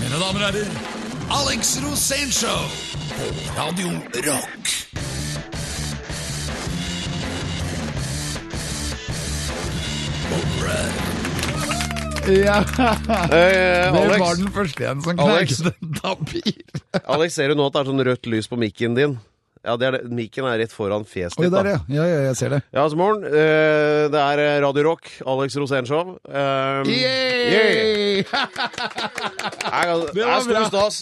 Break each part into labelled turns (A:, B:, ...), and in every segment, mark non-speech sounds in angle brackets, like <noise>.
A: Mine damer og herrer, Alex Rosénshow på Radio Rock.
B: Ja,
C: Eh,
B: det
C: Alex,
B: var den første igjen som
C: Alex.
B: knakte den tapir.
C: Alex, ser du nå at det er sånn rødt lys på mikken din? Ja, det er det. Mikken er rett foran fjeset
B: Oi,
C: ditt.
B: der,
C: da.
B: ja. ja. Ja, jeg ser det.
C: Ja, så morgen. Eh, det er Radio Rock, Alex Rosénshow. Eh, yeah. Det
B: var
C: er stor
B: bra.
C: stas.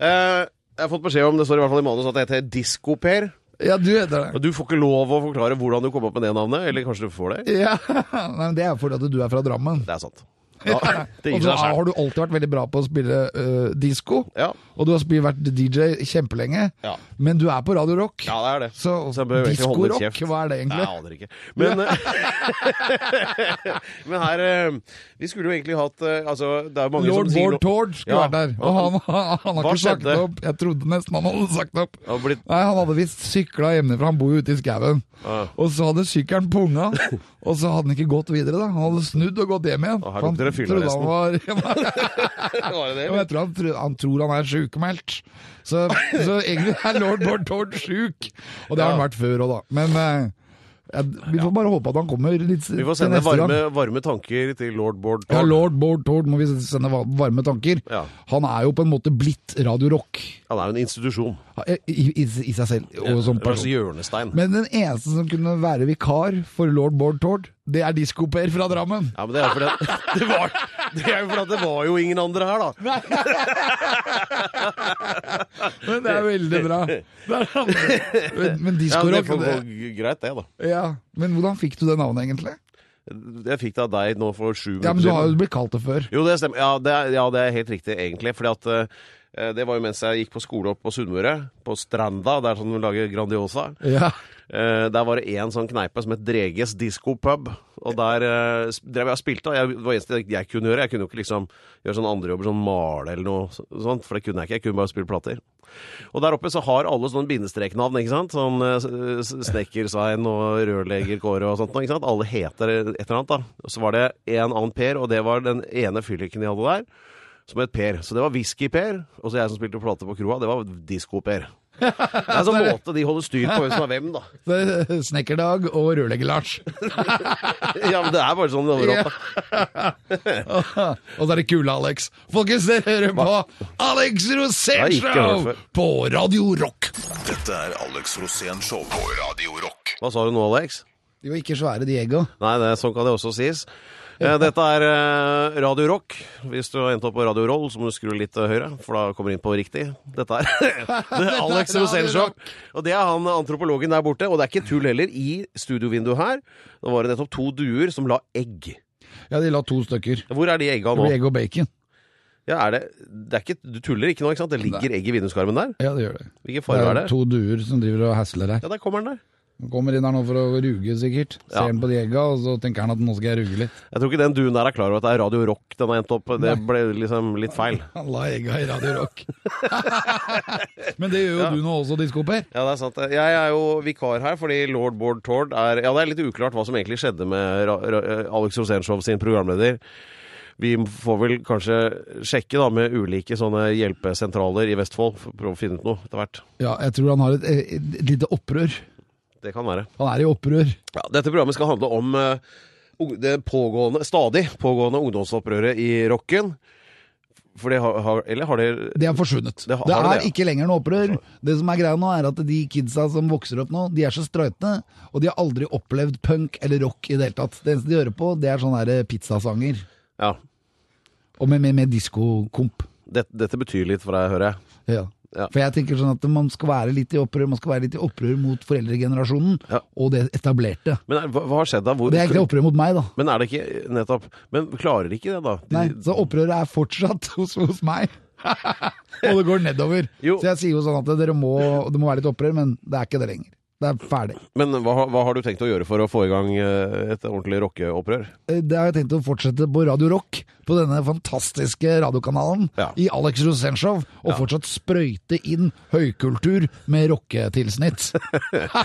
C: Eh, jeg har fått beskjed om, det står i hvert fall i manus, at jeg heter Disko-Per.
B: Ja, du heter det.
C: Du får ikke lov å forklare hvordan du kom opp med det navnet, eller kanskje du får det?
B: Ja, Nei, men Det er fordi at du er fra Drammen.
C: Det er
B: <laughs>
C: sant. Ja, det
B: Og
C: gir
B: så
C: seg
B: har
C: selv.
B: du alltid vært veldig bra på å spille øh, disko.
C: Ja.
B: Og du har spill- vært DJ kjempelenge.
C: Ja.
B: Men du er på Radio Rock.
C: ja, det er det.
B: Så,
C: Så jeg bør egentlig holde litt
B: diskorock,
C: kjeft.
B: hva er det
C: Nei,
B: egentlig?
C: Jeg aner ikke.
B: <laughs>
C: Men, <laughs> eh, men her eh, Vi skulle jo egentlig hatt eh, altså, Det er jo mange
B: Lord
C: som sier
B: Bård
C: noe-
B: Tord skulle
C: Ja.
B: vært der, og han, han, har
C: Hva
B: ikke sagt det
C: skjedde?
B: opp. Jeg trodde nesten han hadde sagt det opp.
C: Det har blitt-
B: Nei, Han hadde visst sykla hjemmefra, han bor jo ute i skauen.
C: Ja.
B: Og så hadde sykkelen punga, og så hadde han ikke gått videre. da Han hadde snudd og gått hjem igjen.
C: Og her
B: For han
C: tok dere
B: trodde han var <laughs>
C: Var det det,
B: <laughs> Ja, men
C: eller?
B: Jeg tror han, tro- han tror han er sjukmeldt. Så, så egentlig er lord Bård Tord sjuk. Og det har han vært før òg, da. Men eh, jeg, vi får bare håpe at han kommer litt
C: Vi får
B: til
C: sende
B: neste gang.
C: varme, varme tanker til lord Bård
B: Ja,
C: Tord.
B: lord Bård Tord må vi sende va- varme tanker.
C: Ja.
B: Han er jo på en måte blitt Radio Rock
C: Han er jo en institusjon.
B: i, i, i seg selv og som
C: En slags
B: person.
C: hjørnestein.
B: Men den eneste som kunne være vikar for lord Bård Tord, det er diskoper fra Drammen.
C: Ja, men det er jo fordi at <laughs> det, var, det er jo fordi at det var jo ingen andre her, da.
B: Men det er veldig
C: <laughs>
B: bra. Det er han. Men, men
C: Ja, det
B: diskorock
C: får gå
B: det-
C: g- greit, det, da.
B: ja. Men hvordan fikk du det navnet, egentlig?
C: Jeg fikk det av deg nå for sju
B: Ja, men
C: minutter
B: Du har
C: siden.
B: jo blitt kalt det før.
C: Jo, det stemmer. Ja, det er, ja, det er helt riktig, egentlig. Fordi at eh, det var jo mens jeg gikk på skole opp på Sunnmøre, på Stranda, der som de lager Grandiosa.
B: Ja.
C: Eh, der var det én sånn kneipe som het Dreges Disco Pub. Og der eh, sp- drev jeg og spilte. da. Jeg, det var det eneste jeg kunne gjøre. Jeg kunne jo ikke liksom gjøre sånne andre jobber, sånn male eller noe så- sånt. For det kunne jeg ikke. Jeg kunne bare spille plater. Og der oppe så har alle sånne bindestreknavn, ikke sant. Sånn eh, s- s- Snekker-Svein og Rørleger Kåre og sånt noe, ikke sant. Alle heter et eller annet, da. Og så var det en annen Per, og det var den ene fylliken de hadde der. Som het Per. Så det var Whisky-Per. Og så jeg som spilte plate på kroa, det var Disko-Per. <laughs> Det er en sånn måte de holder styr på hvem som er hvem, da.
B: Så, eh, Snekkerdag og Rørlegger-Lars.
C: <laughs> Ja, men det er bare sånn det
B: Ja.
C: holder opp.
B: <laughs> og så er det kule Alex. Folkens, dere hører på Alex
C: Nei, ikke hørt
B: Rosénshow
C: før.
B: på Radio Rock.
A: Dette er Alex Rosén Show på Radio Rock.
C: Hva sa du nå, Alex?
B: Jo, ikke svære Diego.
C: Nei, det, sånn kan det også sies. Eh, Dette er eh, Radio Rock. Hvis du har endt opp på Radio Roll, så må du skru litt eh, høyere, for da kommer du inn på riktig. Dette er <laughs> det er Alex
B: Radio
C: Rosenshov.
B: Rock.
C: Og det er han antropologen der borte. Og det er ikke tull heller. I studiovinduet her Da var det nettopp to duer som la egg.
B: Ja, de la to stykker. Det
C: Hvor er de egga nå?
B: blir egg og bacon.
C: Ja, er det, det er ikke, du tuller ikke nå, ikke sant? Det ligger egg i vinduskarmen der.
B: Ja, det gjør det.
C: Hvilken
B: Det
C: farge er
B: er
C: det?
B: to duer som driver og hasler her.
C: Ja, der kommer den der.
B: Han kommer inn her nå for å ruge, sikkert. Ser
C: Ja.
B: han på de egga, og så tenker han at nå skal jeg ruge litt.
C: Jeg tror ikke den duen der er klar over at det er Radio Rock den har endt opp. Det ble liksom litt feil.
B: Han la egga i Radio Rock. <laughs> Men det gjør jo du nå også, diskoper.
C: Ja, det er sant. det. Jeg er jo vikar her fordi lord Bård Tord er Ja, det er litt uklart hva som egentlig skjedde med Ra Ra Alex Rosenshov sin programleder. Vi får vel kanskje sjekke da med ulike sånne hjelpesentraler i Vestfold for å prøve å finne ut noe etter hvert.
B: Ja, jeg tror han har et, et, et lite opprør.
C: Det kan være.
B: Han er i opprør.
C: Ja, dette programmet skal handle om eh, ung- det pågående, stadig pågående ungdomsopprøret i rocken. For det har, har Eller har det
B: Det er forsvunnet.
C: Det
B: Det,
C: har- har det
B: er
C: det, ja.
B: ikke lenger noe opprør. Det som er greia nå, er at de kidsa som vokser opp nå, de er så streitne, og de har aldri opplevd punk eller rock i det hele tatt. Det eneste de hører på, det er sånne her pizzasanger.
C: Ja.
B: Og med, med, med diskokomp.
C: Det, dette betyr litt for deg, hører jeg.
B: Ja.
C: Ja.
B: For jeg tenker sånn at man skal være litt i opprør, man skal være litt i opprør mot foreldregenerasjonen
C: Ja.
B: og det etablerte.
C: Men er, hva, hva har skjedd da? Hvor,
B: Og det er egentlig opprør mot meg, da.
C: Men er det ikke Nettopp. Men klarer de ikke det, da? De,
B: Nei, så opprøret er fortsatt <laughs> hos, hos meg. og det går nedover.
C: Jo.
B: Så jeg sier jo sånn at dere må, det må være litt opprør, men det er ikke det lenger. Det er ferdig.
C: Men hva, hva har du tenkt å gjøre for å få i gang eh, et ordentlig rockeopprør?
B: Eh, Det har jeg tenkt å fortsette på Radio Rock, på denne fantastiske radiokanalen
C: Ja.
B: i Alex Rosenshov og fortsatt sprøyte inn høykultur med
C: <laughs>
B: rocketilsnitt.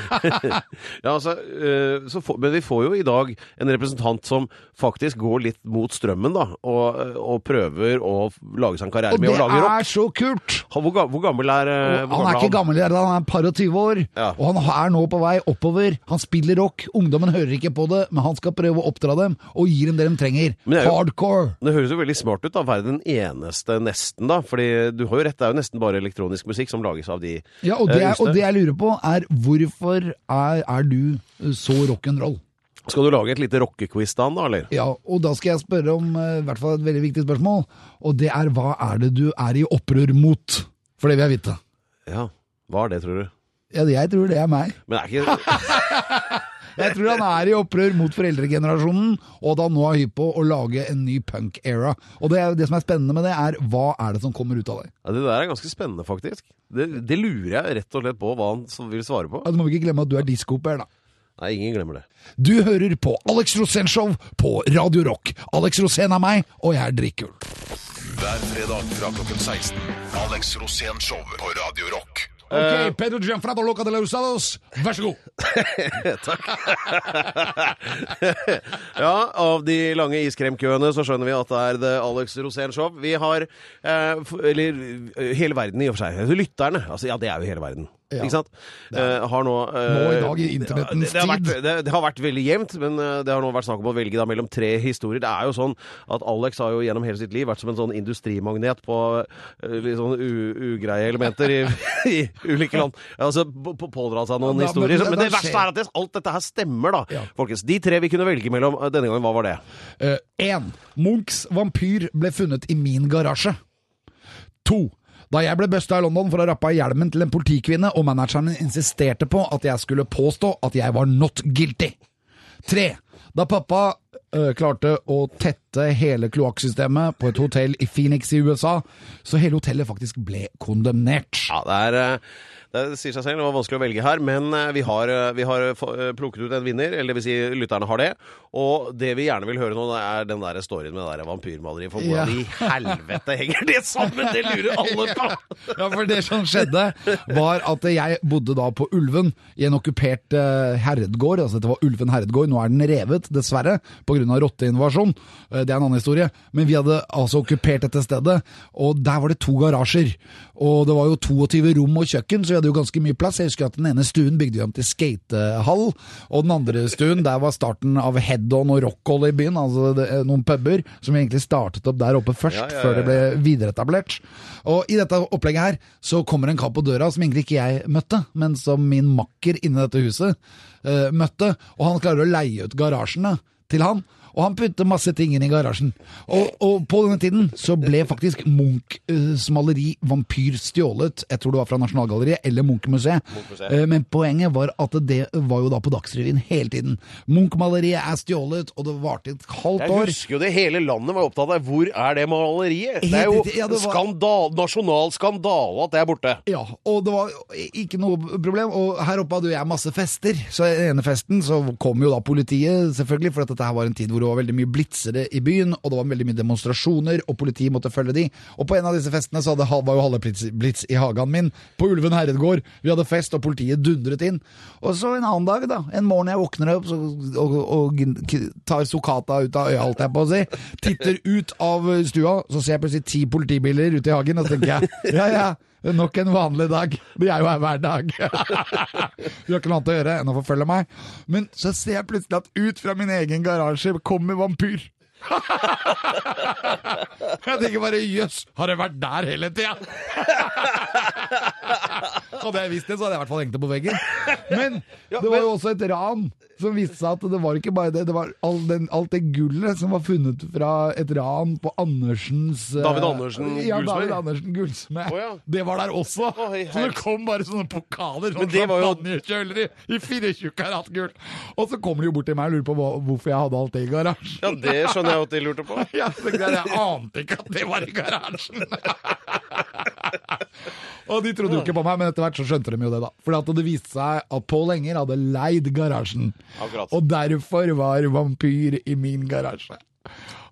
C: Ja, altså, eh, så få- men vi får jo i dag en representant som faktisk går litt mot strømmen, da. Og, eh, og prøver å lage seg en karriere
B: Og
C: med
B: det
C: å lage rock.
B: er så kult!
C: Han- Hvor, ga- hvor gammel er eh, hvor
B: Han er ikke gammel, han er et par og 20 år,
C: Ja.
B: og han er nå på vei oppover. Han spiller rock, ungdommen hører ikke på det, men han skal prøve å oppdra dem, og gir dem det de trenger.
C: Men det er jo-
B: Hardcore!
C: Det høres jo veldig smart ut da, å være den eneste nesten, da. Fordi du har jo rett, det er jo nesten bare elektronisk musikk som lages av de
B: Ja, og
C: eh,
B: det, er, og
C: yngste.
B: det jeg lurer på er, hvorfor er, er du eh, så rock'n'roll?
C: Skal du lage et lite rockequiz da, da, eller?
B: Ja, og da skal jeg spørre om eh, i hvert fall et veldig viktig spørsmål, og det er hva er det du er i opprør mot? For det vil jeg vite.
C: Ja. Hva er det, tror du?
B: Ja, jeg tror det er meg.
C: Men er ikke
B: Jeg tror han er i opprør mot foreldregenerasjonen, og at han nå er hypp på å lage en ny punk-era. Og det, er- det som er spennende med det, er hva er det som kommer ut av det?
C: ja, Det der er ganske spennende, faktisk. Det, det lurer jeg rett og slett på hva han s- vil svare på.
B: Ja, Du må ikke glemme at du er diskoper, da.
C: Nei, ingen glemmer det.
B: Du hører på Alex Rosén-show på Radio Rock. Alex Rosén er meg, og jeg er drikkul.
A: Hver fredag fra klokken 16. Alex Rosén Show på Radio Rock.
B: Ok, Pedro Gianfranco Loca de la Usados, vær så god.
C: <laughs> Ja, av de lange iskremkøene så skjønner vi at det er The Alex Rosén Show. Vi har eh, f Eller eh, hele verden, i og for seg. Altså, Lytterne. Altså, ja, det er jo hele verden.
B: Ja.
C: Ikke sant? Eh, har nå eh,
B: Nå i dag i internettens
C: det, det har
B: tid.
C: vært, det, det har vært veldig jevnt, men eh, det har nå vært snakk om å velge da mellom tre historier. Det er jo sånn at Alex har jo gjennom hele sitt liv vært som en sånn industrimagnet på eh, litt sånn u ugreie elementer i, <laughs> i ulike land. Altså på, på, pådra seg noen
B: Ja, men-
C: historier.
B: men
C: Men, det
B: da
C: verste
B: skjer-
C: er at det, alt dette her stemmer, da.
B: Ja.
C: Folkens, de tre vi kunne velge mellom eh, denne gangen, hva var det?
B: Eh, En, Munchs vampyr ble funnet i min garasje. To, da jeg ble busta i London for å ha rappa hjelmen til en politikvinne, og manageren min insisterte på at jeg skulle påstå at jeg var not guilty. Tre, da pappa eh, klarte å tette hele kloakksystemet på et hotell i Phoenix i USA, så hele hotellet faktisk ble kondemnert.
C: Ja, det er eh, det sier seg selv, det var vanskelig å velge her, men eh, vi har, eh, vi har eh, få- eh, plukket ut en vinner, eller det vil si lytterne har det. Og det vi gjerne vil høre nå, det er den der storyen med det der vampyrmaleriet. For
B: Ja.
C: hvordan i helvete henger det sammen?! <laughs> Det lurer alle på!
B: <laughs> Ja, for det som skjedde var at jeg bodde da på Ulven i en okkupert eh, herredgård. Altså dette var Ulven herredgård, nå er den revet, dessverre, pga. rotteinvasjon. Eh, Det er en annen historie. Men vi hadde altså okkupert dette stedet, og der var det to garasjer. Og det var jo 22 rom og kjøkken, så vi hadde jo ganske mye plass. Jeg husker at den ene stuen bygde vi om til skatehall, og den andre stuen, der var starten av Head-On og Rockhold i byen, altså det, noen puber som egentlig startet opp der oppe først,
C: Ja, ja, ja,
B: før det ble videreetablert. Og i dette opplegget her så kommer en kar på døra som egentlig ikke jeg møtte, men som min makker inne i dette huset eh, møtte. Og han klarer å leie ut garasjene til han. Og han putter masse ting inn i garasjen. Og, og på denne tiden så ble faktisk Munchs maleri 'Vampyr' stjålet. Jeg tror det var fra Nasjonalgalleriet eller Munchmuseet. Eh, Men poenget var at det var jo da på Dagsrevyen hele tiden. Munch-maleriet er stjålet, og det varte et halvt
C: Jeg
B: år.
C: husker jo det, hele landet var opptatt av hvor er det maleriet? Det er jo
B: Helt riktig, ja, det var-
C: skandal, nasjonal skandale at det er borte.
B: Ja, og det var ikke noe problem. Og her oppe hadde jo jeg masse fester. Så i den ene festen så kom jo da politiet, selvfølgelig, for at dette her var en tid hvor det var veldig mye blitsere i byen, og det var veldig mye demonstrasjoner, og politiet måtte følge de. Og på en av disse festene så hadde, var jo halve Blitz, blitz i hagen min, på Ulven herredgård. Vi hadde fest, og politiet dundret inn. Og så en annen dag, da. En morgen jeg våkner opp så, og, og k- tar Sokata ut av øya, holdt jeg på å si. Titter ut av stua, så ser jeg plutselig ti politibiler ute i hagen, og så tenker jeg ja, ja. Eh, Nok en vanlig dag. Det er jo her hver dag. <laughs> Du har ikke noe annet å gjøre enn å forfølge meg. Men så ser jeg plutselig at ut fra min egen garasje kommer vampyr. <laughs> Jeg tenker bare jøss, har jeg vært der hele tida? <laughs> Hadde jeg visst det, så hadde jeg i hvert fall hengt det på veggen. Men det var jo også et ran som viste seg at det var ikke bare det. Det var all den, alt det gullet som var funnet fra et ran på Andersens eh,
C: David Andersen
B: ja,
C: gullsmed?
B: David Andersen gullsmed.
C: Å, ja.
B: Det var der også.
C: Å, hei,
B: så
C: hei.
B: det kom bare sånne pokaler, sånn
C: Men det var jo-
B: champagnekjøler i, i 24 karat gull. Og så kommer de jo bort til meg og lurer på hva, hvorfor jeg hadde alt det i garasjen.
C: Ja, det skjønner jeg jo at de lurte på.
B: <laughs> Ja, så tenkte jeg, jeg ante ikke at det var i garasjen. <laughs> og de trodde jo ikke på meg, men etter hvert så skjønte de jo det, da. For det viste seg at Pål Enger hadde leid garasjen.
C: Akkurat.
B: Og derfor var vampyr i min garasje.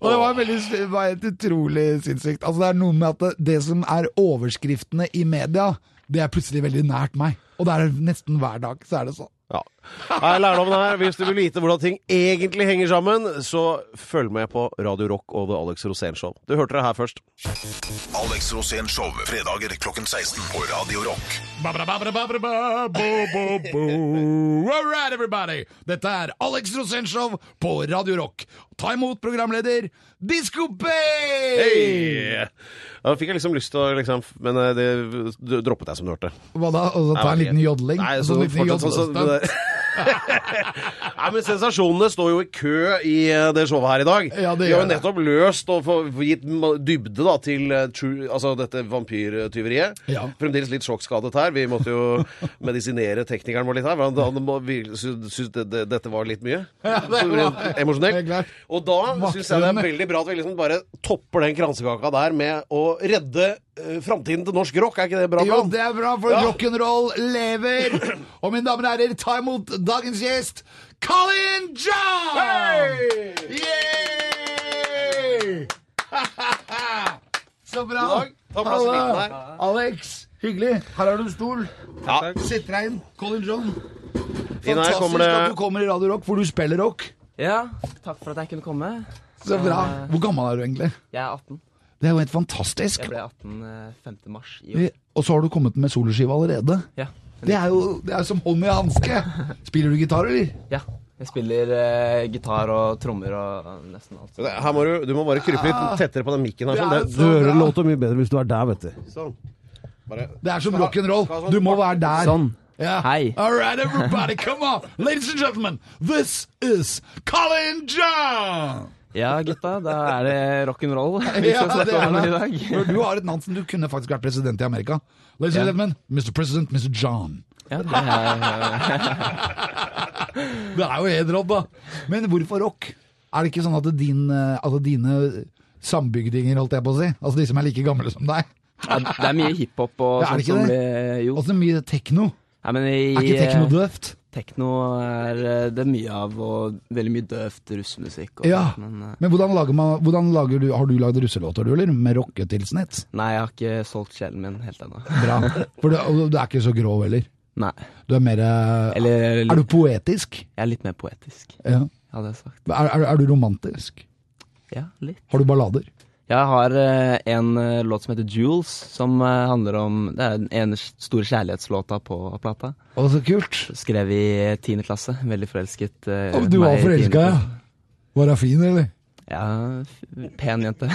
B: Og det var veldig det var helt utrolig sinnssykt. Altså, det er noe med at det, det som er overskriftene i media, det er plutselig veldig nært meg. Og det er nesten hver dag, så er det sånn.
C: Ja. Her er lærdommen her. Hvis du vil vite hvordan ting egentlig henger sammen, så følg med på Radio Rock og The Alex Rosén Show. Du hørte det her først.
D: Alex Rosén Show, fredager klokken 16 på Radio Rock.
B: Ba-ba-da-ba-ba-ba-ba, bo, bo, bo. All right, everybody! Dette er Alex Rosenshov på Radio Rock. Ta imot programleder Disko Bay!
C: Hei! Da fikk jeg liksom lyst til å liksom Men eh, det d- droppet jeg, som du hørte.
B: Hva da? Og så ta en liten jodling?
C: Nei,
B: Og
C: så
B: så en liten
C: fortsatt sånn som
B: jodlestunt. <laughs>
C: det Nei, men Sensasjonene står jo i kø i eh, det showet her i dag.
B: Ja, det
C: Vi har jo
B: gjør det.
C: nettopp løst og få- få gitt ma- dybde da, til eh, true, altså dette vampyrtyveriet.
B: Ja.
C: Fremdeles litt sjokkskadet her. Vi måtte jo
B: <laughs>
C: medisinere teknikeren vår litt her. for Han, han må- vi sy- syns det, det, dette var litt mye.
B: <laughs> Ja, det
C: Så
B: var-
C: rent
B: det er klart.
C: Emosjonelt. Og da syns jeg det er veldig bra at vi liksom bare topper den kransekaka der med å redde uh, framtiden til norsk rock. Er ikke det bra?
B: Jo,
C: Jan?
B: det er bra, for
C: Ja.
B: rock'n'roll lever! Og mine damer og herrer, ta imot dagens gjest, Colin John! Yay! <laughs> Så bra.
C: God dag. Ta plass i
B: Halla.
C: midten her.
B: Alex, hyggelig. Her har du en stol.
C: Ja.
B: Sitt deg inn, Colin John.
C: Inn her
B: Fantastisk
C: kommer det
B: at du kommer i Radio Rock, for du spiller rock.
E: Ja, takk for at jeg kunne komme.
B: Så bra. Hvor gammel er du egentlig?
E: Jeg er 18.
B: Det er jo helt fantastisk.
E: Jeg ble 18 eh, 5. mars i år.
B: Og så har du kommet med soloskive allerede.
E: Ja.
B: Det er jo det er som hånd i hanske. Spiller du gitar, eller?
E: ja. Jeg spiller eh, gitar og trommer og nesten alt.
C: Det- Her må du, du må bare krype litt tettere på den mikken her.
B: Ah. Det
C: Sånn.
B: er
C: Det,
B: så bra.
C: mye bedre hvis du er der, vet du. Sånn. Bare.
B: Det er som rock'n'roll. Du må være der.
E: Sånn.
B: Ja.
E: Hei.
B: All right, everybody, come on. Ladies and gentlemen, this is Colin John!
E: Ja, gutta, da er det rock'n'roll <laughs> vi
B: Ja,
E: skal
B: det
E: snakke
B: er
E: om i
B: det.
E: dag.
B: For Du har et navn som du kunne faktisk vært president i Amerika. Ladies and
E: Ja.
B: gentlemen, Mr. President, Mr. John.
E: Ja, det er, eh,
B: Det er jo helt rått, da. Men hvorfor rock? Er det ikke sånn at din, eh, at dine sambygdinger, holdt jeg på å si, altså de som er like gamle som deg,
E: ja, det er mye hiphop og
B: Ja, er det
E: sånt
B: ikke
E: som
B: det?
E: blir eh, Jo.
B: og så mye tekno?
E: Nei, men i,
B: Er ikke tekno
E: eh,
B: døvt?
E: Tekno er eh, det mye av, og veldig mye døvt russemusikk. Og
B: Ja.
E: sånt, men eh,
B: Men hvordan lager man, hvordan lager du, har du lagd russelåter, du, eller? Med rocketilsnitt?
E: nei, jeg har ikke solgt sjelen min helt ennå.
B: Bra.
E: <laughs>
B: For du, og du er ikke så grov heller.
E: Nei.
B: Du er mer eh,
E: Eller
B: Er du poetisk?
E: jeg er litt mer poetisk,
B: Ja.
E: hadde jeg sagt.
B: Er, er, er du romantisk?
E: Ja, litt.
B: Har du ballader?
E: Jeg har eh, en eh, låt som heter Jules, som eh, handler om Det er den ene s- store kjærlighetslåta på plata.
B: Å, så kult.
E: Skrev i eh, tiende klasse. Veldig forelsket. eh,
B: Å, du
E: meg
B: var
E: i 10.
B: forelska, ja? Var hun fin, eller?
E: Ja, f- pen
B: <laughs>
E: jente.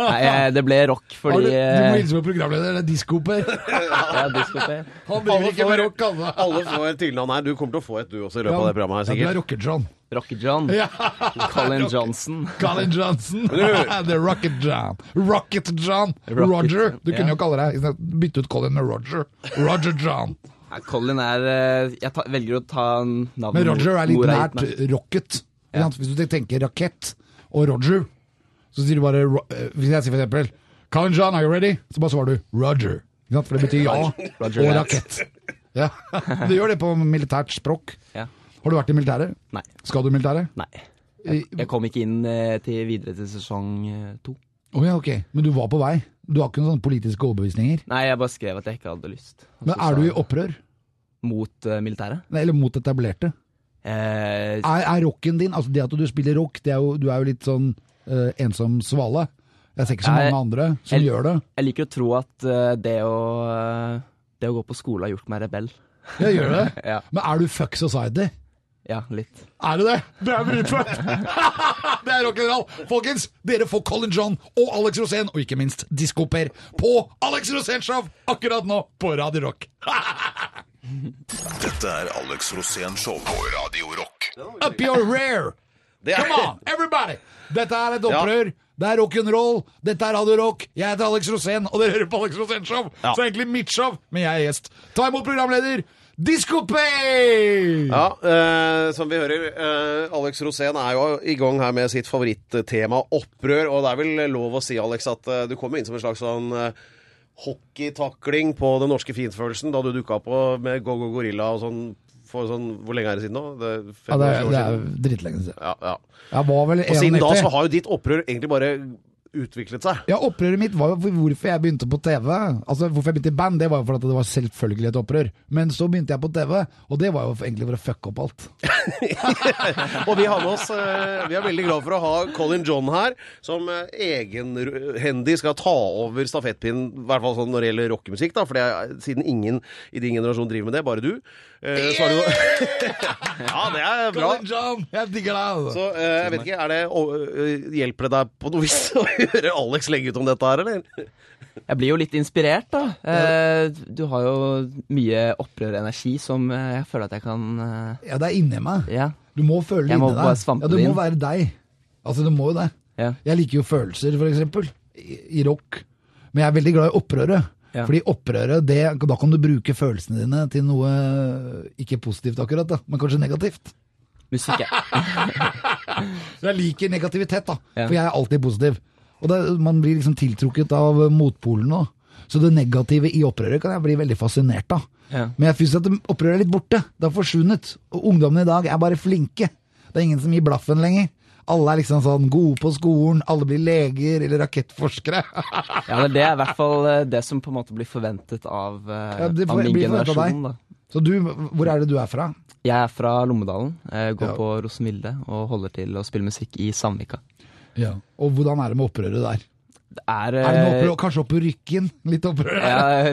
E: Nei, eh, det ble rock
B: Har
E: fordi
B: du, du må
E: eh,
B: hilse på programlederen, det er
E: <laughs>
B: diskoper.
E: ja, diskotek.
B: Han driver ikke med rock, altså.
C: Alle får tilnavn her. Du kommer til å få et, du også, i løpet av det programmet her,
B: Ja, du er
C: sikkert.
B: Rocket-John.
E: Rock-John. Colin Johnson.
B: Colin Johnson. <laughs> The Rocket-John. Rocket-John.
E: Rocket-
B: Roger. Du kunne
E: ja.
B: jo kalle deg Bytte ut Colin med Roger. Roger-John.
E: Ja, Colin er eh, Jeg ta, velger å ta navnet
B: Men Roger er litt
E: mor har Mm. gitt
B: nært
E: meg.
B: rocket. Ikke sant? Hvis du tenker rakett og Roger, så sier du bare ro- eh, Hvis jeg sier for eksempel Colin John, are you ready? Så bare svarer du Roger. Ikke sant? For det betyr ja og
E: Roger that.
B: rakett. <laughs> Ja. Du gjør det på militært språk.
E: Ja.
B: Har du vært i militæret?
E: Nei.
B: Skal du i militæret?
E: Nei.
B: I-
E: Jeg kom ikke inn eh, til videre til sesong eh, to.
B: Å ja, ok. Men du var på vei? Du har ikke noen sånne politiske overbevisninger?
E: Nei, jeg bare skrev at jeg ikke hadde lyst. Og
B: Men
E: så
B: er
E: sa
B: du i
E: jeg
B: opprør?
E: Mot eh, militæret?
B: Nei, Eller mot etablerte?
E: Eh,
B: Er, er rocken din Altså det at du spiller rock, det er jo, du er jo litt sånn eh, ensom svale. Jeg ser ikke så
E: Jeg-
B: mange andre som
E: jeg-
B: gjør det.
E: jeg liker å tro at eh, det å eh, Det å gå på skole har gjort meg rebell.
B: Jeg gjør det.
E: <laughs> Ja.
B: Men er du fuck society?
E: Ja, litt.
B: Er du det? Det er brutfødt! <laughs> det er rock'n'roll! Folkens, dere får Colin John og Alex Rosén, og ikke minst Disko Per, på Alex Rosén Show akkurat nå på Radio Rock. <laughs>
D: Dette er Alex Rosén Show på Radio Rock.
B: Up your rear!
C: Det er-
B: Come on, everybody! Dette er et opprør. Det er rock'n'roll. Dette er Radio Rock. Jeg heter Alex Rosén, og dere hører på Alex Rosén Show.
C: Ja.
B: Så egentlig mitt show, men jeg er gjest. Ta imot programleder Disko Per!
C: <laughs> Ja, eh, som vi hører, eh, Alex Rosén er jo i gang her med sitt favorittema, opprør. Og det er vel lov å si, Alex, at eh, du kommer inn som en slags sånn eh, hockeytakling på den norske finfølelsen da du dukka på med Go Go Gorilla og sånn for sånn Hvor lenge er det siden nå? Det er
B: Ja, det, er-
C: 25 år
B: det er
C: siden.
B: dritlenge siden.
C: Ja, ja.
B: Jeg var vel
C: Og siden da
B: 91.
C: så har jo ditt opprør egentlig bare utviklet seg.
B: Ja, opprøret mitt var jo hvorfor jeg begynte på TV. Altså, Hvorfor jeg begynte i band, det var jo fordi det var selvfølgelig et opprør. Men så begynte jeg på TV, og det var jo egentlig for å fucke opp alt.
C: <laughs> Og vi har med oss eh, Vi er veldig glad for å ha Colin John her, som eh, egenhendig skal ta over stafettpinnen, i hvert fall sånn når det gjelder rockemusikk, da, for det er, siden ingen i din generasjon driver med det, bare du. eh, så er det jo <laughs> Ja, det er bra.
B: John, jeg digger deg! altså.
C: Så eh, jeg vet ikke, er det, å, eh, Hjelper det deg på noe vis å høre Alex legge ut om dette her, eller?
E: Jeg blir jo litt inspirert, da. Eh, du har jo mye opprørenergi som eh, jeg føler at jeg kan eh,
B: Ja, det er inni meg.
E: Ja.
B: Du må føle det
E: Jeg må
B: inni
E: bare
B: deg.
E: svampe
B: Ja, du
E: det
B: må
E: inn.
B: være deg. Altså, du må jo det.
E: ja.
B: Jeg liker jo følelser, for eksempel, i, i rock. Men jeg er veldig glad i opprøret.
E: Ja.
B: Fordi opprøret, det, da kan du bruke følelsene dine til noe eh, ikke positivt akkurat, da, men kanskje negativt.
E: Musikk
B: <laughs>
E: er
B: Så Jeg liker negativitet, da.
E: Ja.
B: For jeg er alltid positiv. Og det, Man blir liksom tiltrukket av eh, motpolene. da. Så det negative i opprøret kan jeg bli veldig fascinert av.
E: Ja.
B: Men jeg synes at det- opprøret er litt borte. Det har forsvunnet. Og ungdommene i dag er bare flinke. Det er ingen som gir blaffen lenger. Alle er liksom sånn gode på skolen, alle blir leger eller rakettforskere. <laughs>
E: Ja, men det er i hvert fall eh, det som på en måte blir forventet av, eh,
B: Ja, det
E: av min
B: blir forventet av
E: generasjon. Da.
B: Så du, hvor er det du er fra?
E: Jeg er fra Lommedalen, eh, går
B: Ja.
E: på Rosenvilde og holder til å spille musikk i Sandvika.
B: Og hvordan er det med opprøret der?
E: Det er,
B: Er det noe
E: eh,
B: opprør, kanskje opp i rykken? Litt opprør?
E: ja,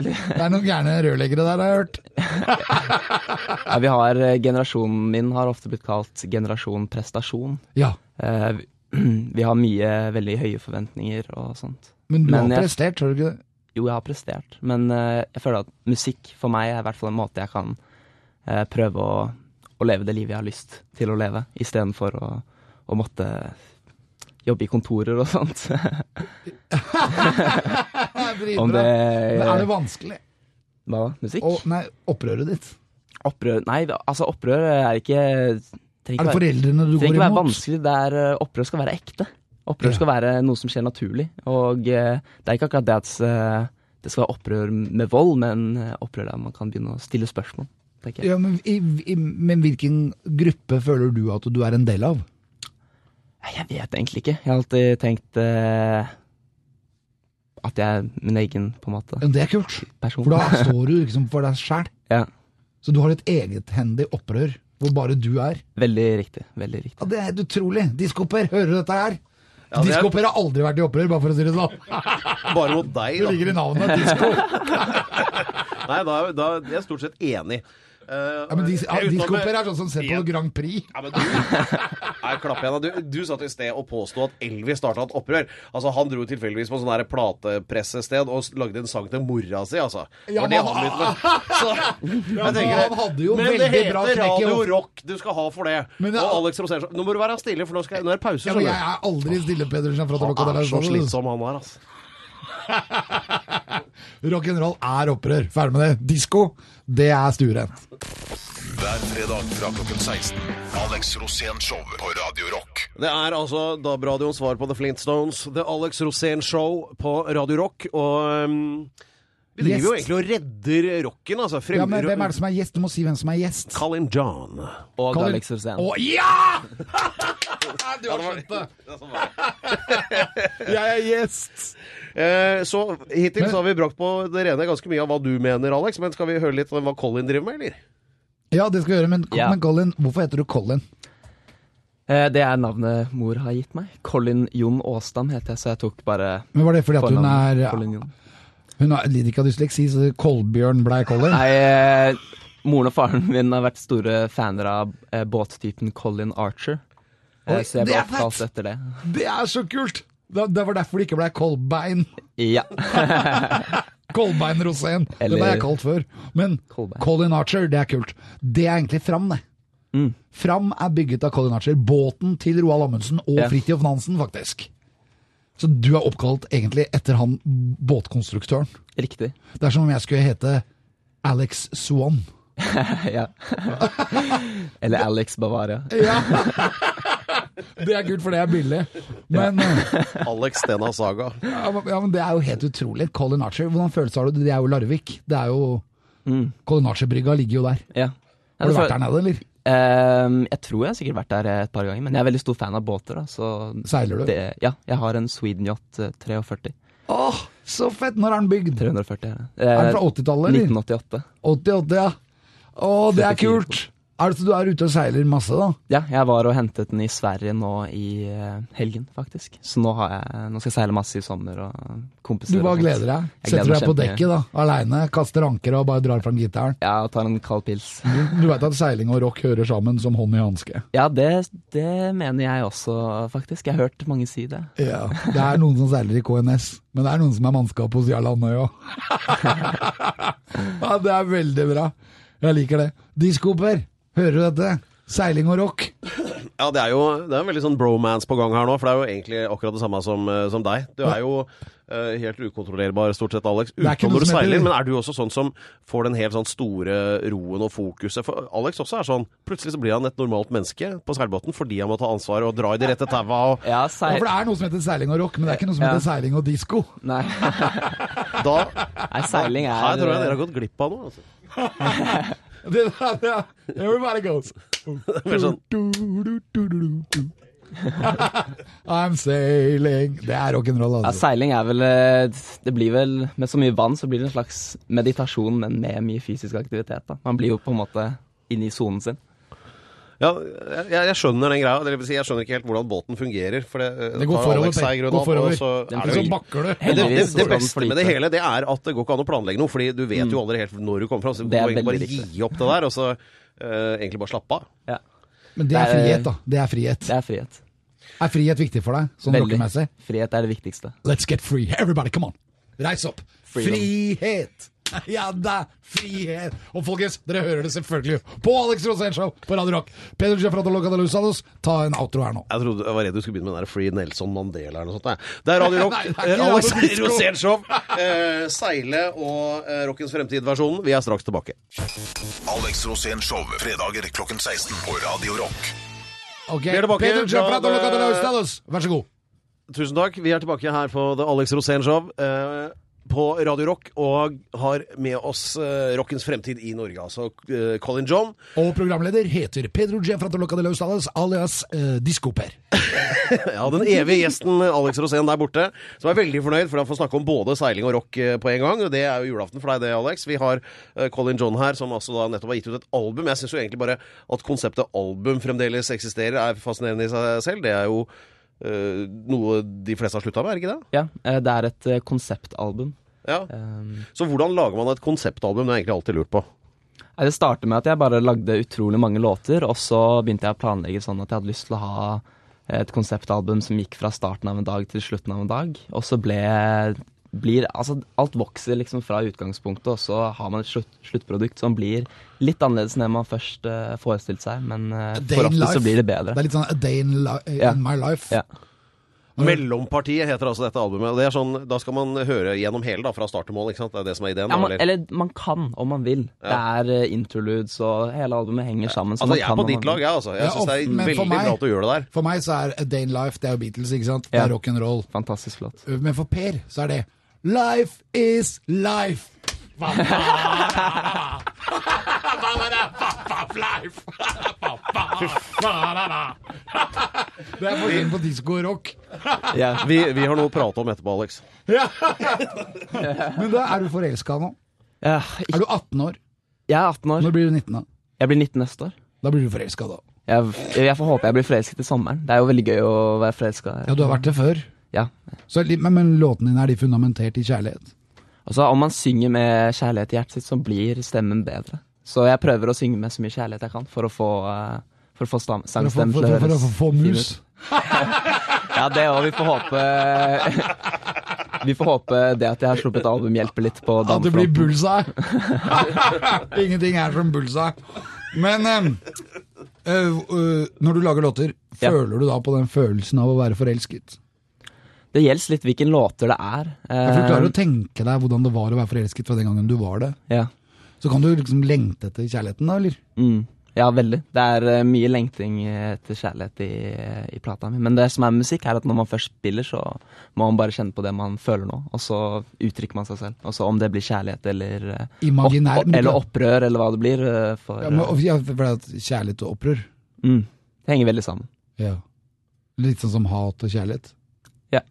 B: <laughs> Det er noen gærne rørleggere der, har jeg hørt.
E: ja, vi har, eh, generasjonen min har ofte blitt kalt generasjon prestasjon.
B: Ja,
E: Eh, vi, <clears throat> vi har mye veldig høye forventninger og sånt.
B: Men du
E: Men
B: har
E: jeg-
B: prestert, har du
E: <laughs>
B: ikke det?
E: Jo, jeg har prestert, men eh, jeg føler at musikk for meg er i hvert fall en måte jeg kan eh, prøve å, å leve det livet jeg har lyst til å leve, istedenfor å, å måtte jobbe i kontorer og sånt. <laughs> Om det
B: Men er det vanskelig?
E: Hva da? Musikk?
B: Å, nei, opprøret ditt.
E: Opprør Nei, altså, opprør er ikke trenger
B: Er det
E: ikke være-
B: foreldrene du
E: trenger
B: går
E: ikke være
B: imot?
E: vanskelig. Det er, eh, opprør skal være ekte. Opprør
B: Ja.
E: skal være noe som skjer naturlig. Og eh, det er ikke akkurat det at eh, det skal være opprør med vold, men eh, opprør der man kan begynne å stille spørsmål. tenker jeg.
B: Ja, men, i, i, men hvilken gruppe føler du at du er en del av?
E: Nei, Jeg vet egentlig ikke. Jeg har alltid tenkt eh, at jeg er min egen, på en måte,
B: Ja, Det er kult,
E: person.
B: for da står du liksom for deg sjæl.
E: ja,
B: Så du har et egethendig opprør hvor bare du er.
E: veldig riktig. Veldig riktig.
B: Ja, Det er helt utrolig. Diskoper, hører du dette her?
C: Ja, det er-
B: Diskoper har aldri vært i opprør, bare for å si det sånn.
C: Bare mot deg,
B: Det
C: da.
B: ligger i
C: <laughs>
B: navnet. Disko.
C: Nei, da, da jeg er jeg stort sett enig. Eh,
B: Ja, men dis, ja,
C: jeg er utenom-
B: diskoper er sånn som ser på Grand Prix.
C: Ja, men du, Nei, klapp igjen, da. du, du satt i sted og påstod at Elvis starta et opprør. Altså, Han dro tilfeldigvis på sånn her platepressested og s- lagde en sang til mora si, altså. Det
B: Ja,
C: var det
B: men-
C: han
B: <laughs>
C: begynte med. Så, jeg
B: men han hadde jo
C: men det
B: veldig
C: heter
B: bra knekk i
C: Radio
B: hodet.
C: Rock, du skal ha for det.
B: Men det-
C: og Alex Rosenstrøm Nå må du være stille, for nå, skal, jeg- nå er det pause.
B: Ja, men
C: skjønner
B: jeg
C: du.
B: er aldri stille, Pedersen. fra
C: Han
B: Tabakadalen.
C: er så slitsom, han der, altså.
B: Rock'n'roll er opprør. Ferdig med det. Disko, det er stuerent.
D: Hver fredag fra klokken 16. Alex Rosén Show på Radio Rock.
C: Det er altså DAB-radioens svar på The Flintstones, The Alex Rosén Show på Radio Rock. Og um, vi driver jo
B: Gjest.
C: egentlig og redder rocken, altså. Frem,
B: Ja, men hvem er det som er gjest? Du må si hvem som er gjest.
C: Colin John.
E: Og
B: Kan du-
E: Alex Rosén.
B: Å, ja! <laughs> Du har skjønt det. Jeg er gjest.
C: Eh, så hittil
B: Men-
C: så har vi brakt på det rene ganske mye av hva du mener, Alex. Men skal vi høre litt om hva Colin driver med, eller?
B: Ja, det skal vi gjøre, men,
E: Ja.
B: men Colin, hvorfor heter du Colin?
E: Eh, det er navnet mor har gitt meg. Colin Jon Aasdam heter jeg, så jeg tok bare
B: Men Var det fordi at hun
E: fornavnet
B: er
E: Colin Jon.
B: Hun har- lider ikke av dysleksi, så Kolbjørn blei Colin?
E: Nei, eh, moren og faren min har vært store faner av eh, båttypen Colin Archer. Eh,
B: Oi,
E: så jeg
B: det
E: ble
B: er fett!
E: oppkalt etter det.
B: Det er så kult! Det, det var derfor det ikke blei Kolbein.
E: Ja. <laughs>
B: Kolbein Rosén.
E: Eller-
B: Det ble jeg kalt før. Men
E: Kolbein.
B: Colin Archer, det er kult. Det er egentlig Fram, det.
E: Mm.
B: Fram er bygget av Colin Archer. Båten til Roald Amundsen og
E: Ja.
B: Fridtjof Nansen, faktisk. Så du er oppkalt egentlig etter han båtkonstruktøren.
E: Riktig.
B: Det er som om jeg skulle hete Alex Swan.
E: Ja. <laughs> Eller Alex Bavaria.
B: Ja. <laughs> Det er kult, for det er billig. Men, eh,
C: Alex Stena Saga.
B: ja, men- ja, men det er jo helt utrolig. Colin Archer, hvordan følelse har du? Det er jo Larvik. Det er jo Colin Archer-brygga ligger jo der.
E: Mm, Ja.
B: Har du vært der nede, eller?
E: ehm, jeg tror jeg har sikkert vært der eh, et par ganger, men jeg er veldig stor fan av båter. da så
B: Seiler du?
E: det, Ja, jeg har en Sweden Yacht eh, 43.
B: Åh, så fett! Når er den bygd?
E: 340 er det.
B: Er den fra 80-tallet, eller?
E: 1988.
B: 88, ja. Å, det er
E: 74.
B: kult! Er det så du er ute og seiler masse, da?
E: Ja, jeg var og hentet den i Sverige nå i eh, helgen, faktisk. Så nå, har jeg, nå skal jeg seile masse i sommer og
B: Du
E: kompiser.
B: bare
E: og sånt.
B: gleder deg?
E: Jeg gleder
B: Setter
E: meg
B: deg på
E: kjempemye.
B: dekket da, aleine, kaster ankeret og bare drar fram gitaren?
E: Ja, og tar en kald pils. <laughs>
B: Du veit at seiling og rock hører sammen som hånd i hanske?
E: Ja, det, det mener jeg også, faktisk. Jeg har hørt mange si det.
B: Ja. Det er noen som seiler i KNS, men det er noen som er mannskap hos Jarl Andøy òg.
C: <laughs>
B: ja, det er veldig bra. Jeg liker det. Diskoper, hører du dette? Seiling og rock.
C: Ja, det er jo det er en veldig sånn bromance på gang her nå, for det er jo egentlig akkurat det samme som, eh, som deg. Du er jo eh, helt ukontrollerbar stort sett, Alex,
B: er ikke noe
C: utenom når du
B: som heter-
C: seiler. Men er du også sånn som får den helt sånn store roen og fokuset? For Alex også er sånn. Plutselig så blir han et normalt menneske på seilbåten fordi han må ta ansvar og dra i de rette taua. Og
E: Ja,
B: Ja,
E: seil...
B: for det er noe som heter seiling og rock, men det er ikke noe som
E: Ja.
B: heter seiling og disko. <laughs>
E: Nei. <laughs>
C: da
E: Nei, seiling er
C: Her tror jeg dere har gått glipp av noe. Altså.
B: Det der, ja. Everybody goes.
C: Mer sånn
B: <laughs> I'm sailing. Det er rock'n'roll,
E: Ja,
B: altså.
E: seiling er vel eh, Det blir vel Med så mye vann så blir det en slags meditasjon, men med mye fysisk aktivitet. da Man blir jo på en måte inne i sonen sin.
C: Ja, jeg, jeg skjønner den greia. Det vil si, jeg skjønner ikke helt hvordan båten fungerer. For det, eh,
B: Det går
C: tar
B: forover,
C: Alex
B: Per.
C: seg i grunnen
B: Går
C: opp,
B: forover.
C: og så er
B: Og
C: det jo-
B: så sånn bakker du.
C: Men Det, det,
E: Heldigvis
C: det
E: så kan
C: beste
E: den
C: med det
E: flyte.
C: hele det er at det går ikke an å planlegge noe, Fordi du vet
B: Mm.
C: jo aldri helt når du kommer fram. Så du
E: Det er
C: må egentlig bare
E: veldig riktig.
C: gi opp det der, og så eh, egentlig bare slappe av.
E: Ja,
B: Men det er
E: Det er-
B: frihet, da. Det er frihet.
E: Det er frihet.
B: Er frihet viktig for deg, sånn
E: Veldig.
B: rockemessig?
E: Frihet er det viktigste.
B: Let's get free. Everybody, come on. Reis opp.
E: Freedom.
B: Frihet! <laughs> Ja da, frihet! Og folkens, dere hører det selvfølgelig på Alex Rosén Show på Radio Rock. Peder Jefrato Locatalusados, ta en outro her nå.
C: Jeg trodde jeg var redd du skulle begynne med den der Free Nelson Mandela eller noe sånt. jeg. Det er Radio
B: <laughs>
C: Rock.
B: Nei, det er ikke
C: eh, Alex
B: Radio Disco.
C: Rosénshow. eh, Seile og eh, Rockens Fremtid-versjonen. Vi er straks tilbake.
D: Alex Rosén Show, fredager klokken 16 på Radio Rock.
B: Ok,
C: Vi er tilbake.
B: Peder
C: Ja,
B: Jefrato
C: det-
B: Locatalusados, vær så god.
C: Tusen takk. Vi er tilbake her på The Alex Rosénshow eh, på Radio Rock og har med oss eh, rockens fremtid i Norge, altså eh, Colin John.
B: Og programleder heter Pedro Jefrato Locatalusados alias eh, Diskoper.
C: Ja, den evige gjesten Alex Rosén der borte, som er veldig fornøyd for han får snakke om både seiling og rock eh, på en gang. og Det er jo julaften for deg, det, Alex. Vi har eh, Colin John her, som altså da nettopp har gitt ut et album. Jeg syns jo egentlig bare at konseptet album fremdeles eksisterer, er fascinerende i seg selv. Det er jo eh, noe de fleste har slutta med, er det ikke det?
E: Ja, eh, det er et eh, konseptalbum.
C: Ja.
E: Um,
C: Så hvordan lager man et konseptalbum? Det har jeg egentlig alltid lurt på.
E: Nei, Det startet med at jeg bare lagde utrolig mange låter, og så begynte jeg å planlegge sånn at jeg hadde lyst til å ha eh, et konseptalbum som gikk fra starten av en dag til slutten av en dag. Og så ble blir, altså Alt vokser liksom fra utgangspunktet, og så har man et slutt, sluttprodukt som blir litt annerledes enn det man først eh, forestilte seg, men eh,
B: A day
E: for
B: in
E: ofte
B: life.
E: så blir det
B: Det
E: bedre.
B: er litt sånn A Day in, li in
E: Ja.
B: My Life.
E: Ja.
C: Mellompartiet heter altså dette albumet. og det er sånn, Da skal man høre gjennom hele, da, fra start til mål. ikke sant? Det er det som er ideen.
E: Ja,
C: da,
E: man,
C: eller?
E: eller man kan, om man vil. Det er eh, interludes, og hele albumet henger sammen. Så
C: Altså,
E: man
C: Jeg er på
E: kan om man
C: ditt
E: vil.
C: lag, jeg. altså. Jeg
B: Ja,
C: syns det er
B: men for
C: veldig
B: meg-
C: bra at du gjør det der.
B: For meg så er A Day in Life det er jo Beatles, ikke sant? Det
E: Ja.
B: er rock'n'roll.
E: Fantastisk låt.
B: Men for Per så er det Life is life. Det er forskjellen på disko og rock.
E: Ja.
C: Vi, vi har noe å prate om etterpå, Alex.
B: Men da er du forelska nå.
E: Ja,
B: Er du 18 år?
E: jeg er 18 år.
B: Når blir du 19? Da
E: Jeg blir 19 neste år.
B: Da blir du forelska, da.
E: Jeg, jeg får håpe jeg blir forelsket i sommeren. Det er jo veldig gøy å være forelska.
B: Ja, du har vært det før.
E: Ja.
B: Så, litt- men, men låtene dine, er de fundamentert i kjærlighet?
E: Altså, om man synger med kjærlighet i hjertet sitt, så blir stemmen bedre. Så jeg prøver å synge med så mye kjærlighet jeg kan for å få, eh, for å få stam-
B: For å få,
E: sangstemmen
B: for,
E: til å
B: for, for,
E: høres
B: å få
E: fin
B: mus?
E: ut. Ja, det òg. Vi får håpe <laughs> Vi får håpe det at jeg har sluppet album, hjelper litt på
B: At det blir
E: damefronten.
B: bullseye.
E: <laughs>
B: Ingenting er som bullseye. Men em, eh, eh, når du lager låter,
E: Ja.
B: føler du da på den følelsen av å være forelsket?
E: Det gjelder litt hvilken låter det er.
B: Ja, For du klarer å
E: Eh,
B: tenke deg hvordan det var å være forelsket fra den gangen du var det.
E: ja.
B: Så kan du liksom lengte etter kjærligheten da, eller?
E: Mm. Ja, veldig. Det er eh, mye lengting eh, etter kjærlighet i, i plata mi. Men det som er med musikk, er at når man først spiller, så må man bare kjenne på det man føler nå. Og så uttrykker man seg selv. Og så om det blir kjærlighet eller, eh,
B: Imaginær, men du-
E: eller opprør, eller hva det blir. eh, For,
B: Ja, men,
E: eh,
B: ja, for det er at kjærlighet og opprør.
E: mm, det henger veldig sammen.
B: Ja. Litt sånn som hat og kjærlighet.
E: Ja.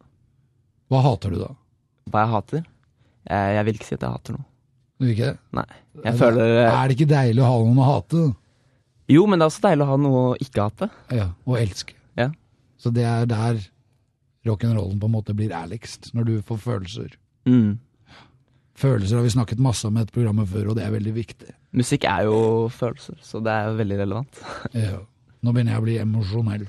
B: Hva hater du, da?
E: Hva jeg hater? Eh, Jeg vil ikke si at jeg hater noe.
B: Du vil ikke det?
E: Nei. Jeg føler eh,
B: Er det ikke deilig å ha noen å hate?
E: Jo, men det er også deilig å ha noe å ikke hate.
B: Ja, og elske.
E: Ja.
B: Så det er der rock'n'rollen på en måte blir ærligst, når du får følelser.
E: Mm.
B: Følelser har vi snakket masse om i dette programmet før, og det er veldig viktig.
E: Musikk er jo følelser, så det er jo veldig relevant.
B: Ja. Nå begynner jeg å bli emosjonell.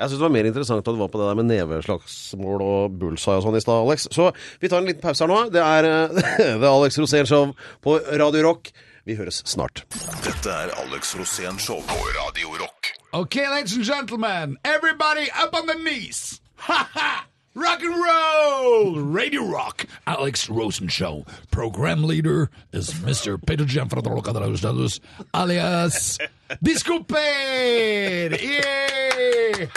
C: Jeg syns det var mer interessant at du var på det der med neveslagsmål og bullseye og sånn i stad, Alex. Så vi tar en liten pause her nå. Det er eh, <laughs> The Alex Rosén Show på Radio Rock. Vi høres snart.
D: Dette er Alex Rosén Show på Radio Rock.
B: Ok, ladies and gentlemen, everybody up on the knees!
A: Ha-ha! Rock and roll! Radio Rock, Alex Rosen Show. Program leader is Mr. Peter Gianfranco alias Disco Ped! Yeah!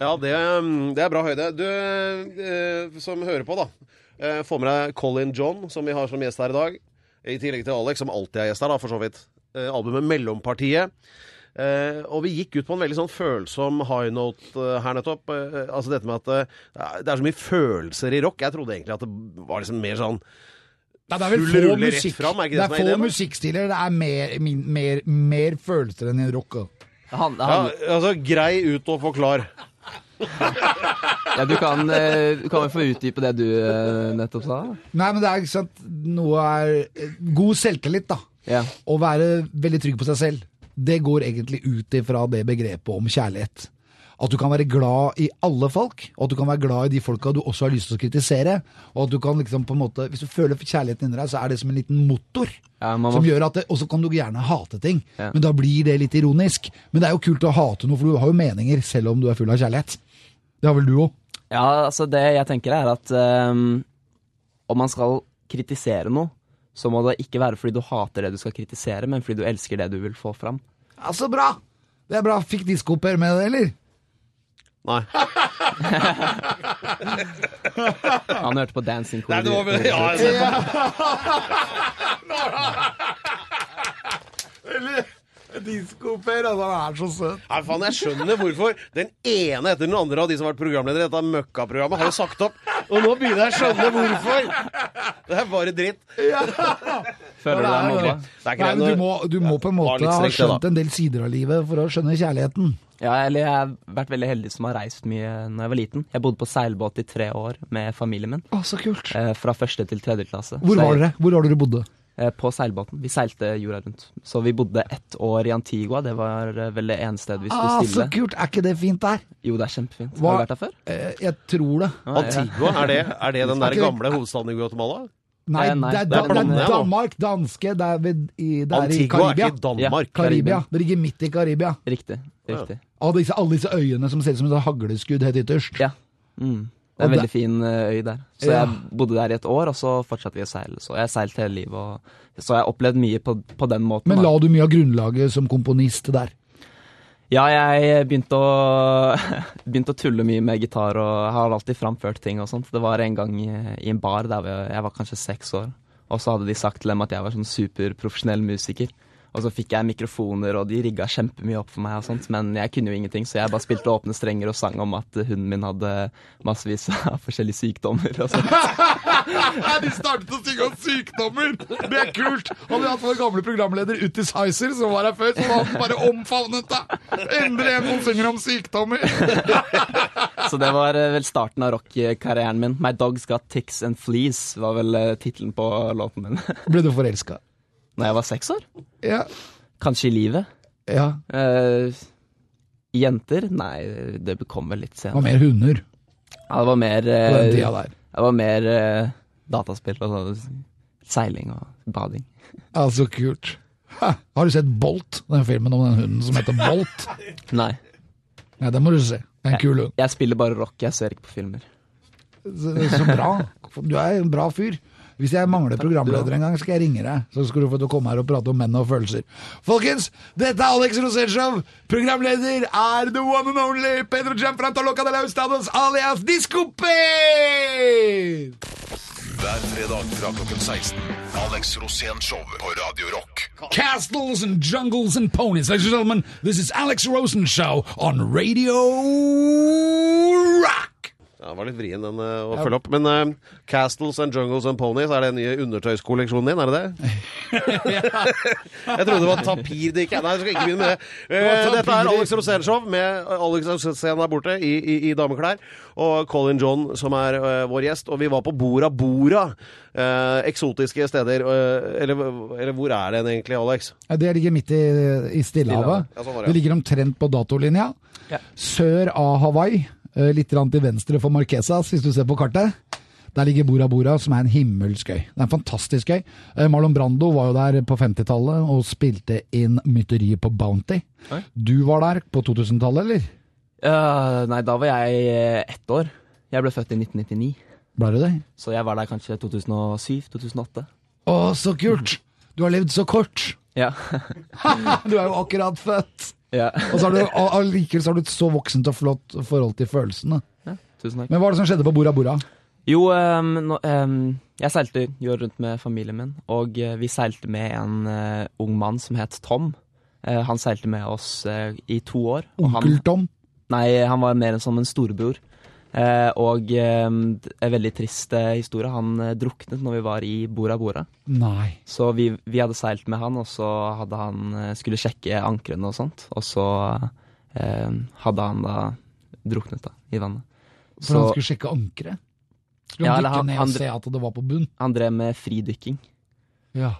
C: Ja, det, mm, det er bra høyde. Du eh, som hører på, da. eh, Få med deg Colin John, som vi har som gjest her i dag. I tillegg til Alex, som alltid er gjest her, da, for så vidt. Eh, Albumet Mellompartiet. Eh, og vi gikk ut på en veldig sånn følsom high note eh, her nettopp. Eh, eh, altså dette med at eh, det er så mye følelser i rock. Jeg trodde egentlig at det var liksom mer sånn
B: Nei, det er vel
C: Full
B: få,
C: rulle rett
B: musikk,
C: fram, er ikke det
B: det er
C: som er
B: få
C: ideen, da?
B: musikkstiler. Det er mer, min, mer, mer følelser enn i rock. da.
E: Det handler-
C: ja,
E: handler-
C: Altså grei ut og forklar.
E: Ja, du kan, eh, du kan vel få utdype det du eh, nettopp sa?
B: Nei, men det er ikke sant Noe er eh, God selvtillit, da.
E: Ja.
B: Å være veldig trygg på seg selv. Det går egentlig ut ifra det begrepet om kjærlighet. At du kan være glad i alle folk, og at du kan være glad i de folka du også har lyst til å kritisere. Og at du kan liksom på en måte Hvis du føler kjærligheten inni deg, så er det som en liten motor.
E: Ja, man må-
B: som gjør at det, Og så kan du gjerne hate ting,
E: Ja.
B: men da blir det litt ironisk. Men det er jo kult å hate noe, for du har jo meninger selv om du er full av kjærlighet. Det har vel du òg?
E: Ja, altså det jeg tenker er at ehm, om man skal kritisere noe, så må det ikke være fordi du hater det du skal kritisere, men fordi du elsker det du vil få fram.
B: Ja, så Altså, bra! Det er bra. Fikk diskooper med det, eller?
C: Nei.
E: Han hørte på Dancing Queen.
C: Nei, det var vel ja, altså.
B: Diskooper, altså. Han er så søt.
C: Nei, faen, jeg skjønner hvorfor den ene etter den andre av de som har vært programledere i dette møkkaprogrammet, har jo sagt opp. Og nå begynner jeg å skjønne hvorfor! Det er bare dritt.
E: Føler du deg mobba?
C: Det er
B: Nei,
C: ikke det
B: men du
C: når-
B: må, du må på en
C: var litt
B: måte ha
C: strengt, det, da.
B: skjønt en del sider av livet for å skjønne kjærligheten.
E: Ja, eller jeg har vært veldig heldig som har reist mye når jeg var liten. Jeg bodde på seilbåt i tre år med familien min,
B: Å, så kult.
E: eh, fra første til tredje klasse.
B: Hvor
E: Så
B: var
E: jeg-
B: dere? Hvor har dere bodde?
E: Eh, På seilbåten. Vi seilte jorda rundt. Så vi bodde ett år i Antigua. Det var eh, vel det ene stedet vi sto
B: Ah, så
E: stille.
B: kult. Er ikke det fint der?
E: Jo, det er kjempefint.
B: Hva-
E: Har du vært der før?
B: Eh, jeg tror det.
E: Nei, ja.
C: Antigua, er det, er det den der
B: Snakker vi-
C: gamle hovedstaden i Guatemala?
B: Nei,
E: Eh, nei,
B: det, er,
E: det er
B: da, det
C: blandet,
B: er
C: ja.
B: Danmark. Danske. Det er, ved, i, det er i
C: Antigua er
B: Karibia.
C: ikke Danmark.
B: Karibia. Det ligger midt i Karibia.
E: Riktig. riktig.
B: Av disse, alle disse øyene som ser ut som et hagleskudd helt ytterst.
E: Ja. Mm. Det er en
B: Og
E: veldig fin eh, øy der. Så
B: Ja.
E: jeg bodde der i et år, og så fortsatte vi å seile. Så jeg har seilt hele livet, og så jeg har opplevd mye på, på den måten.
B: Men
E: da.
B: la du mye av grunnlaget som komponist der?
E: Ja, jeg begynte å, <laughs> begynte å tulle mye med gitar, og har alltid framført ting og sånt. Det var en gang i, i en bar der hvor jeg var kanskje seks år, og så hadde de sagt til dem at jeg var sånn superprofesjonell musiker. Og så fikk jeg mikrofoner, og de rigga kjempemye opp for meg, og sånt, men jeg kunne jo ingenting, så jeg bare spilte åpne strenger og sang om at hunden min hadde massevis av <laughs> forskjellige sykdommer. Og sånt.
B: Nei, De startet å synge om sykdommer! Det er kult! Hadde vi hatt vår gamle programleder Utti Sizer, som var her før, så hadde han bare omfavnet deg! Endelig en som synger om sykdommer!
E: Så det var eh, vel starten av rockkarrieren min. My Dogs Got Ticks and Fleas var vel eh, tittelen på låten min. <laughs>
B: Ble du forelska?
E: Når jeg var seks år?
B: Ja.
E: Kanskje i livet?
B: ja.
E: Eh, jenter? Nei, det kommer litt
B: Det var mer
E: senere.
B: hunder
E: Ja, det var mer, eh,
B: på den tida der.
E: det var mer eh, dataspill og sånn, seiling og bading.
B: Ja, så kult. Ha, har du sett Bolt? Den filmen om den hunden som heter Bolt?
E: Nei.
B: Nei, den må du se. Det er en kul hund.
E: Jeg spiller bare rock, jeg ser ikke på filmer.
B: Så, så bra. Du er en bra fyr. Hvis jeg mangler programleder en gang, skal jeg ringe deg. Så skal du få til å komme her og prate om menn og følelser. Folkens, dette er Alex Rosénshow. Programleder er the one and only Pedro Gianfrantaloca de Laustados alias Diskoper!
D: Hver fredag fra klokken 16. Alex Rosén Show på Radio Rock.
B: Castles and jungles and ponies. Ladies and gentlemen, this is Alex Rosen Show on Radio Rock.
C: Ja, det var litt vrien den eh, å følge opp. Men eh, Castles and Jungles and Ponies, er det den nye undertøyskolleksjonen din? Er det det?
B: <laughs>
C: <laughs> jeg trodde det var tapirdikk. Nei, jeg skal ikke begynne med det. Eh,
B: Det var
C: dette er
B: tapir.
C: Alex Rosénshow med eh, Alex Rosén der borte i, i, i dameklær. Og Colin John, som er eh, vår gjest. Og vi var på Bora Bora. Eh, eksotiske steder. eh, eller, eller hvor er den egentlig, Alex?
B: Det ligger midt i, i Stillehavet.
C: Ja, sånn var det.
B: Det ligger omtrent på datolinja.
E: Ja.
B: Sør av Hawaii. eh, Litt grann til venstre for Marquesas, hvis du ser på kartet. Der ligger Bora Bora, som er en himmelsk øy. Det er en fantastisk øy. Eh, Marlon Brando var jo der på 50-tallet og spilte inn mytteriet på Bounty.
E: Oi.
B: Du var der på 2000-tallet, eller?
E: Ja, nei, da var jeg eh, ett år. Jeg ble født i 1999,
B: Ble du det?
E: så jeg var der kanskje 2007-2008.
B: Å, så kult! Du har levd så kort!
E: Ja.
B: Ah, Du er jo akkurat født!
E: <laughs> ja.
B: Og så har du, og allikevel så har du et så voksent og flott forhold til følelsene.
E: Tusen takk.
B: Men hva er det som skjedde på Bora Bora?
E: Jo, ehm, nå- ehm, jeg seilte jo rundt med familien min, og eh, vi seilte med en eh, ung mann som het Tom. Eh, han seilte med oss eh, i to år. og han-
B: Onkel Tom?
E: Nei, han var mer som en storebror. Eh, og eh, d- en veldig trist eh, historie. Han eh, druknet når vi var i Bora Bora.
B: Nei.
E: Så vi, vi hadde seilt med han, og så hadde han eh, skulle sjekke ankrene og sånt. Og så eh, hadde han da druknet da, i vannet.
B: For
E: Så
B: han skulle sjekke ankeret? Skulle
E: Ja,
B: han
E: eller
B: dykke
E: han-
B: ned
E: han-
B: og se at det var på bunn?
E: han drev med fridykking.
B: Ja.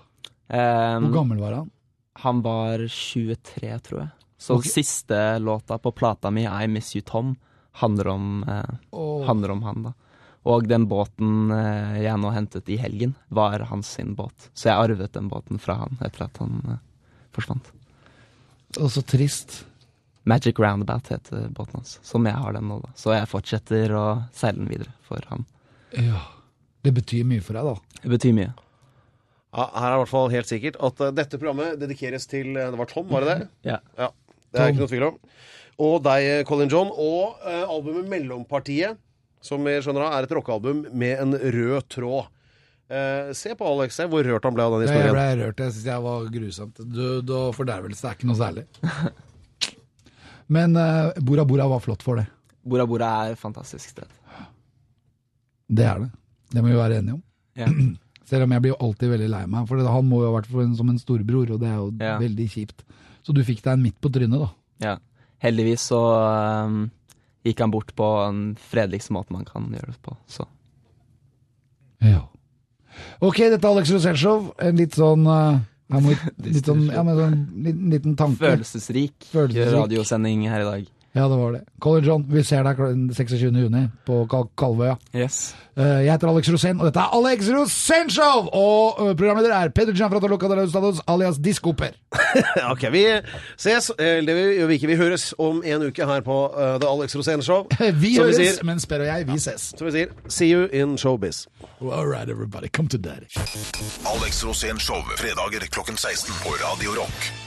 E: Eh,
B: Hvor gammel var han?
E: han var 23, tror jeg. Så
B: Ok.
E: siste låta på plata mi, I Miss You Tom, handler om eh,
B: Åh.
E: handler om han, da. Og den båten eh, jeg nå hentet i helgen, var hans sin båt. Så jeg arvet den båten fra han etter at han eh, forsvant.
B: Og så trist.
E: Magic Roundabout heter båten hans, som jeg har den nå, da. Så jeg fortsetter å seile den videre for han.
B: Ja. Det betyr mye for deg, da.
E: Det betyr mye.
C: Ja, her er i hvert fall helt sikkert at eh, dette programmet dedikeres til eh, Det var Tom, var det det?
E: Ja.
C: Ja, det er ikke noe tvil om. Og deg, Colin John, og eh, albumet Mellompartiet, som vi skjønner av er et rockealbum med en rød tråd. Eh, se på Alex, se hvor rørt han ble av den
B: Jeg
C: historien.
B: ble rørt. Jeg syns jeg var grusomt. Død og fordervelse er ikke noe særlig.
E: <laughs>
B: Men eh, Bora Bora var flott for det.
E: Bora Bora er et fantastisk sted.
B: Det er det. Det må vi være enige om.
E: Ja.
B: Selv om jeg blir jo alltid veldig lei meg, for han må jo ha vært for en, som en storbror, og det er jo
E: Ja.
B: veldig kjipt. Så du fikk deg en midt på trynet, da.
E: ja. Heldigvis så eh, gikk han bort på en fredeligste måte man kan gjøre det på, så
B: Ja. Ok, dette er Alex Rosenshov. En litt sånn eh, her må vi- <laughs> litt sånn, ja, men sånn liten, liten tanke.
E: Følelsesrik,
B: Følelsesrik.
E: radiosending her i dag.
B: Ja, det var det. Colin John, vi ser deg kl- 26. juni på Kal Kalvøya.
E: Yes.
B: Eh, jeg heter Alex Rosén, og dette er Alex Rosénshow! Og uh, programleder er Peder Gianfrato Luca de Laustados alias Diskoper.
C: Ja, <laughs> ok, vi ses, eller det gjør vi ikke, vi høres om en uke her på eh, The Alex Rosén Show.
B: <laughs> <laughs> Vi
C: Som
B: høres,
C: vi sier,
B: men Sper og jeg, vi ses.
C: som vi sier, see you in showbiz.
B: All right, everybody, come to daddy.
D: Alex Rosén Show fredager klokken 16 på Radio Rock.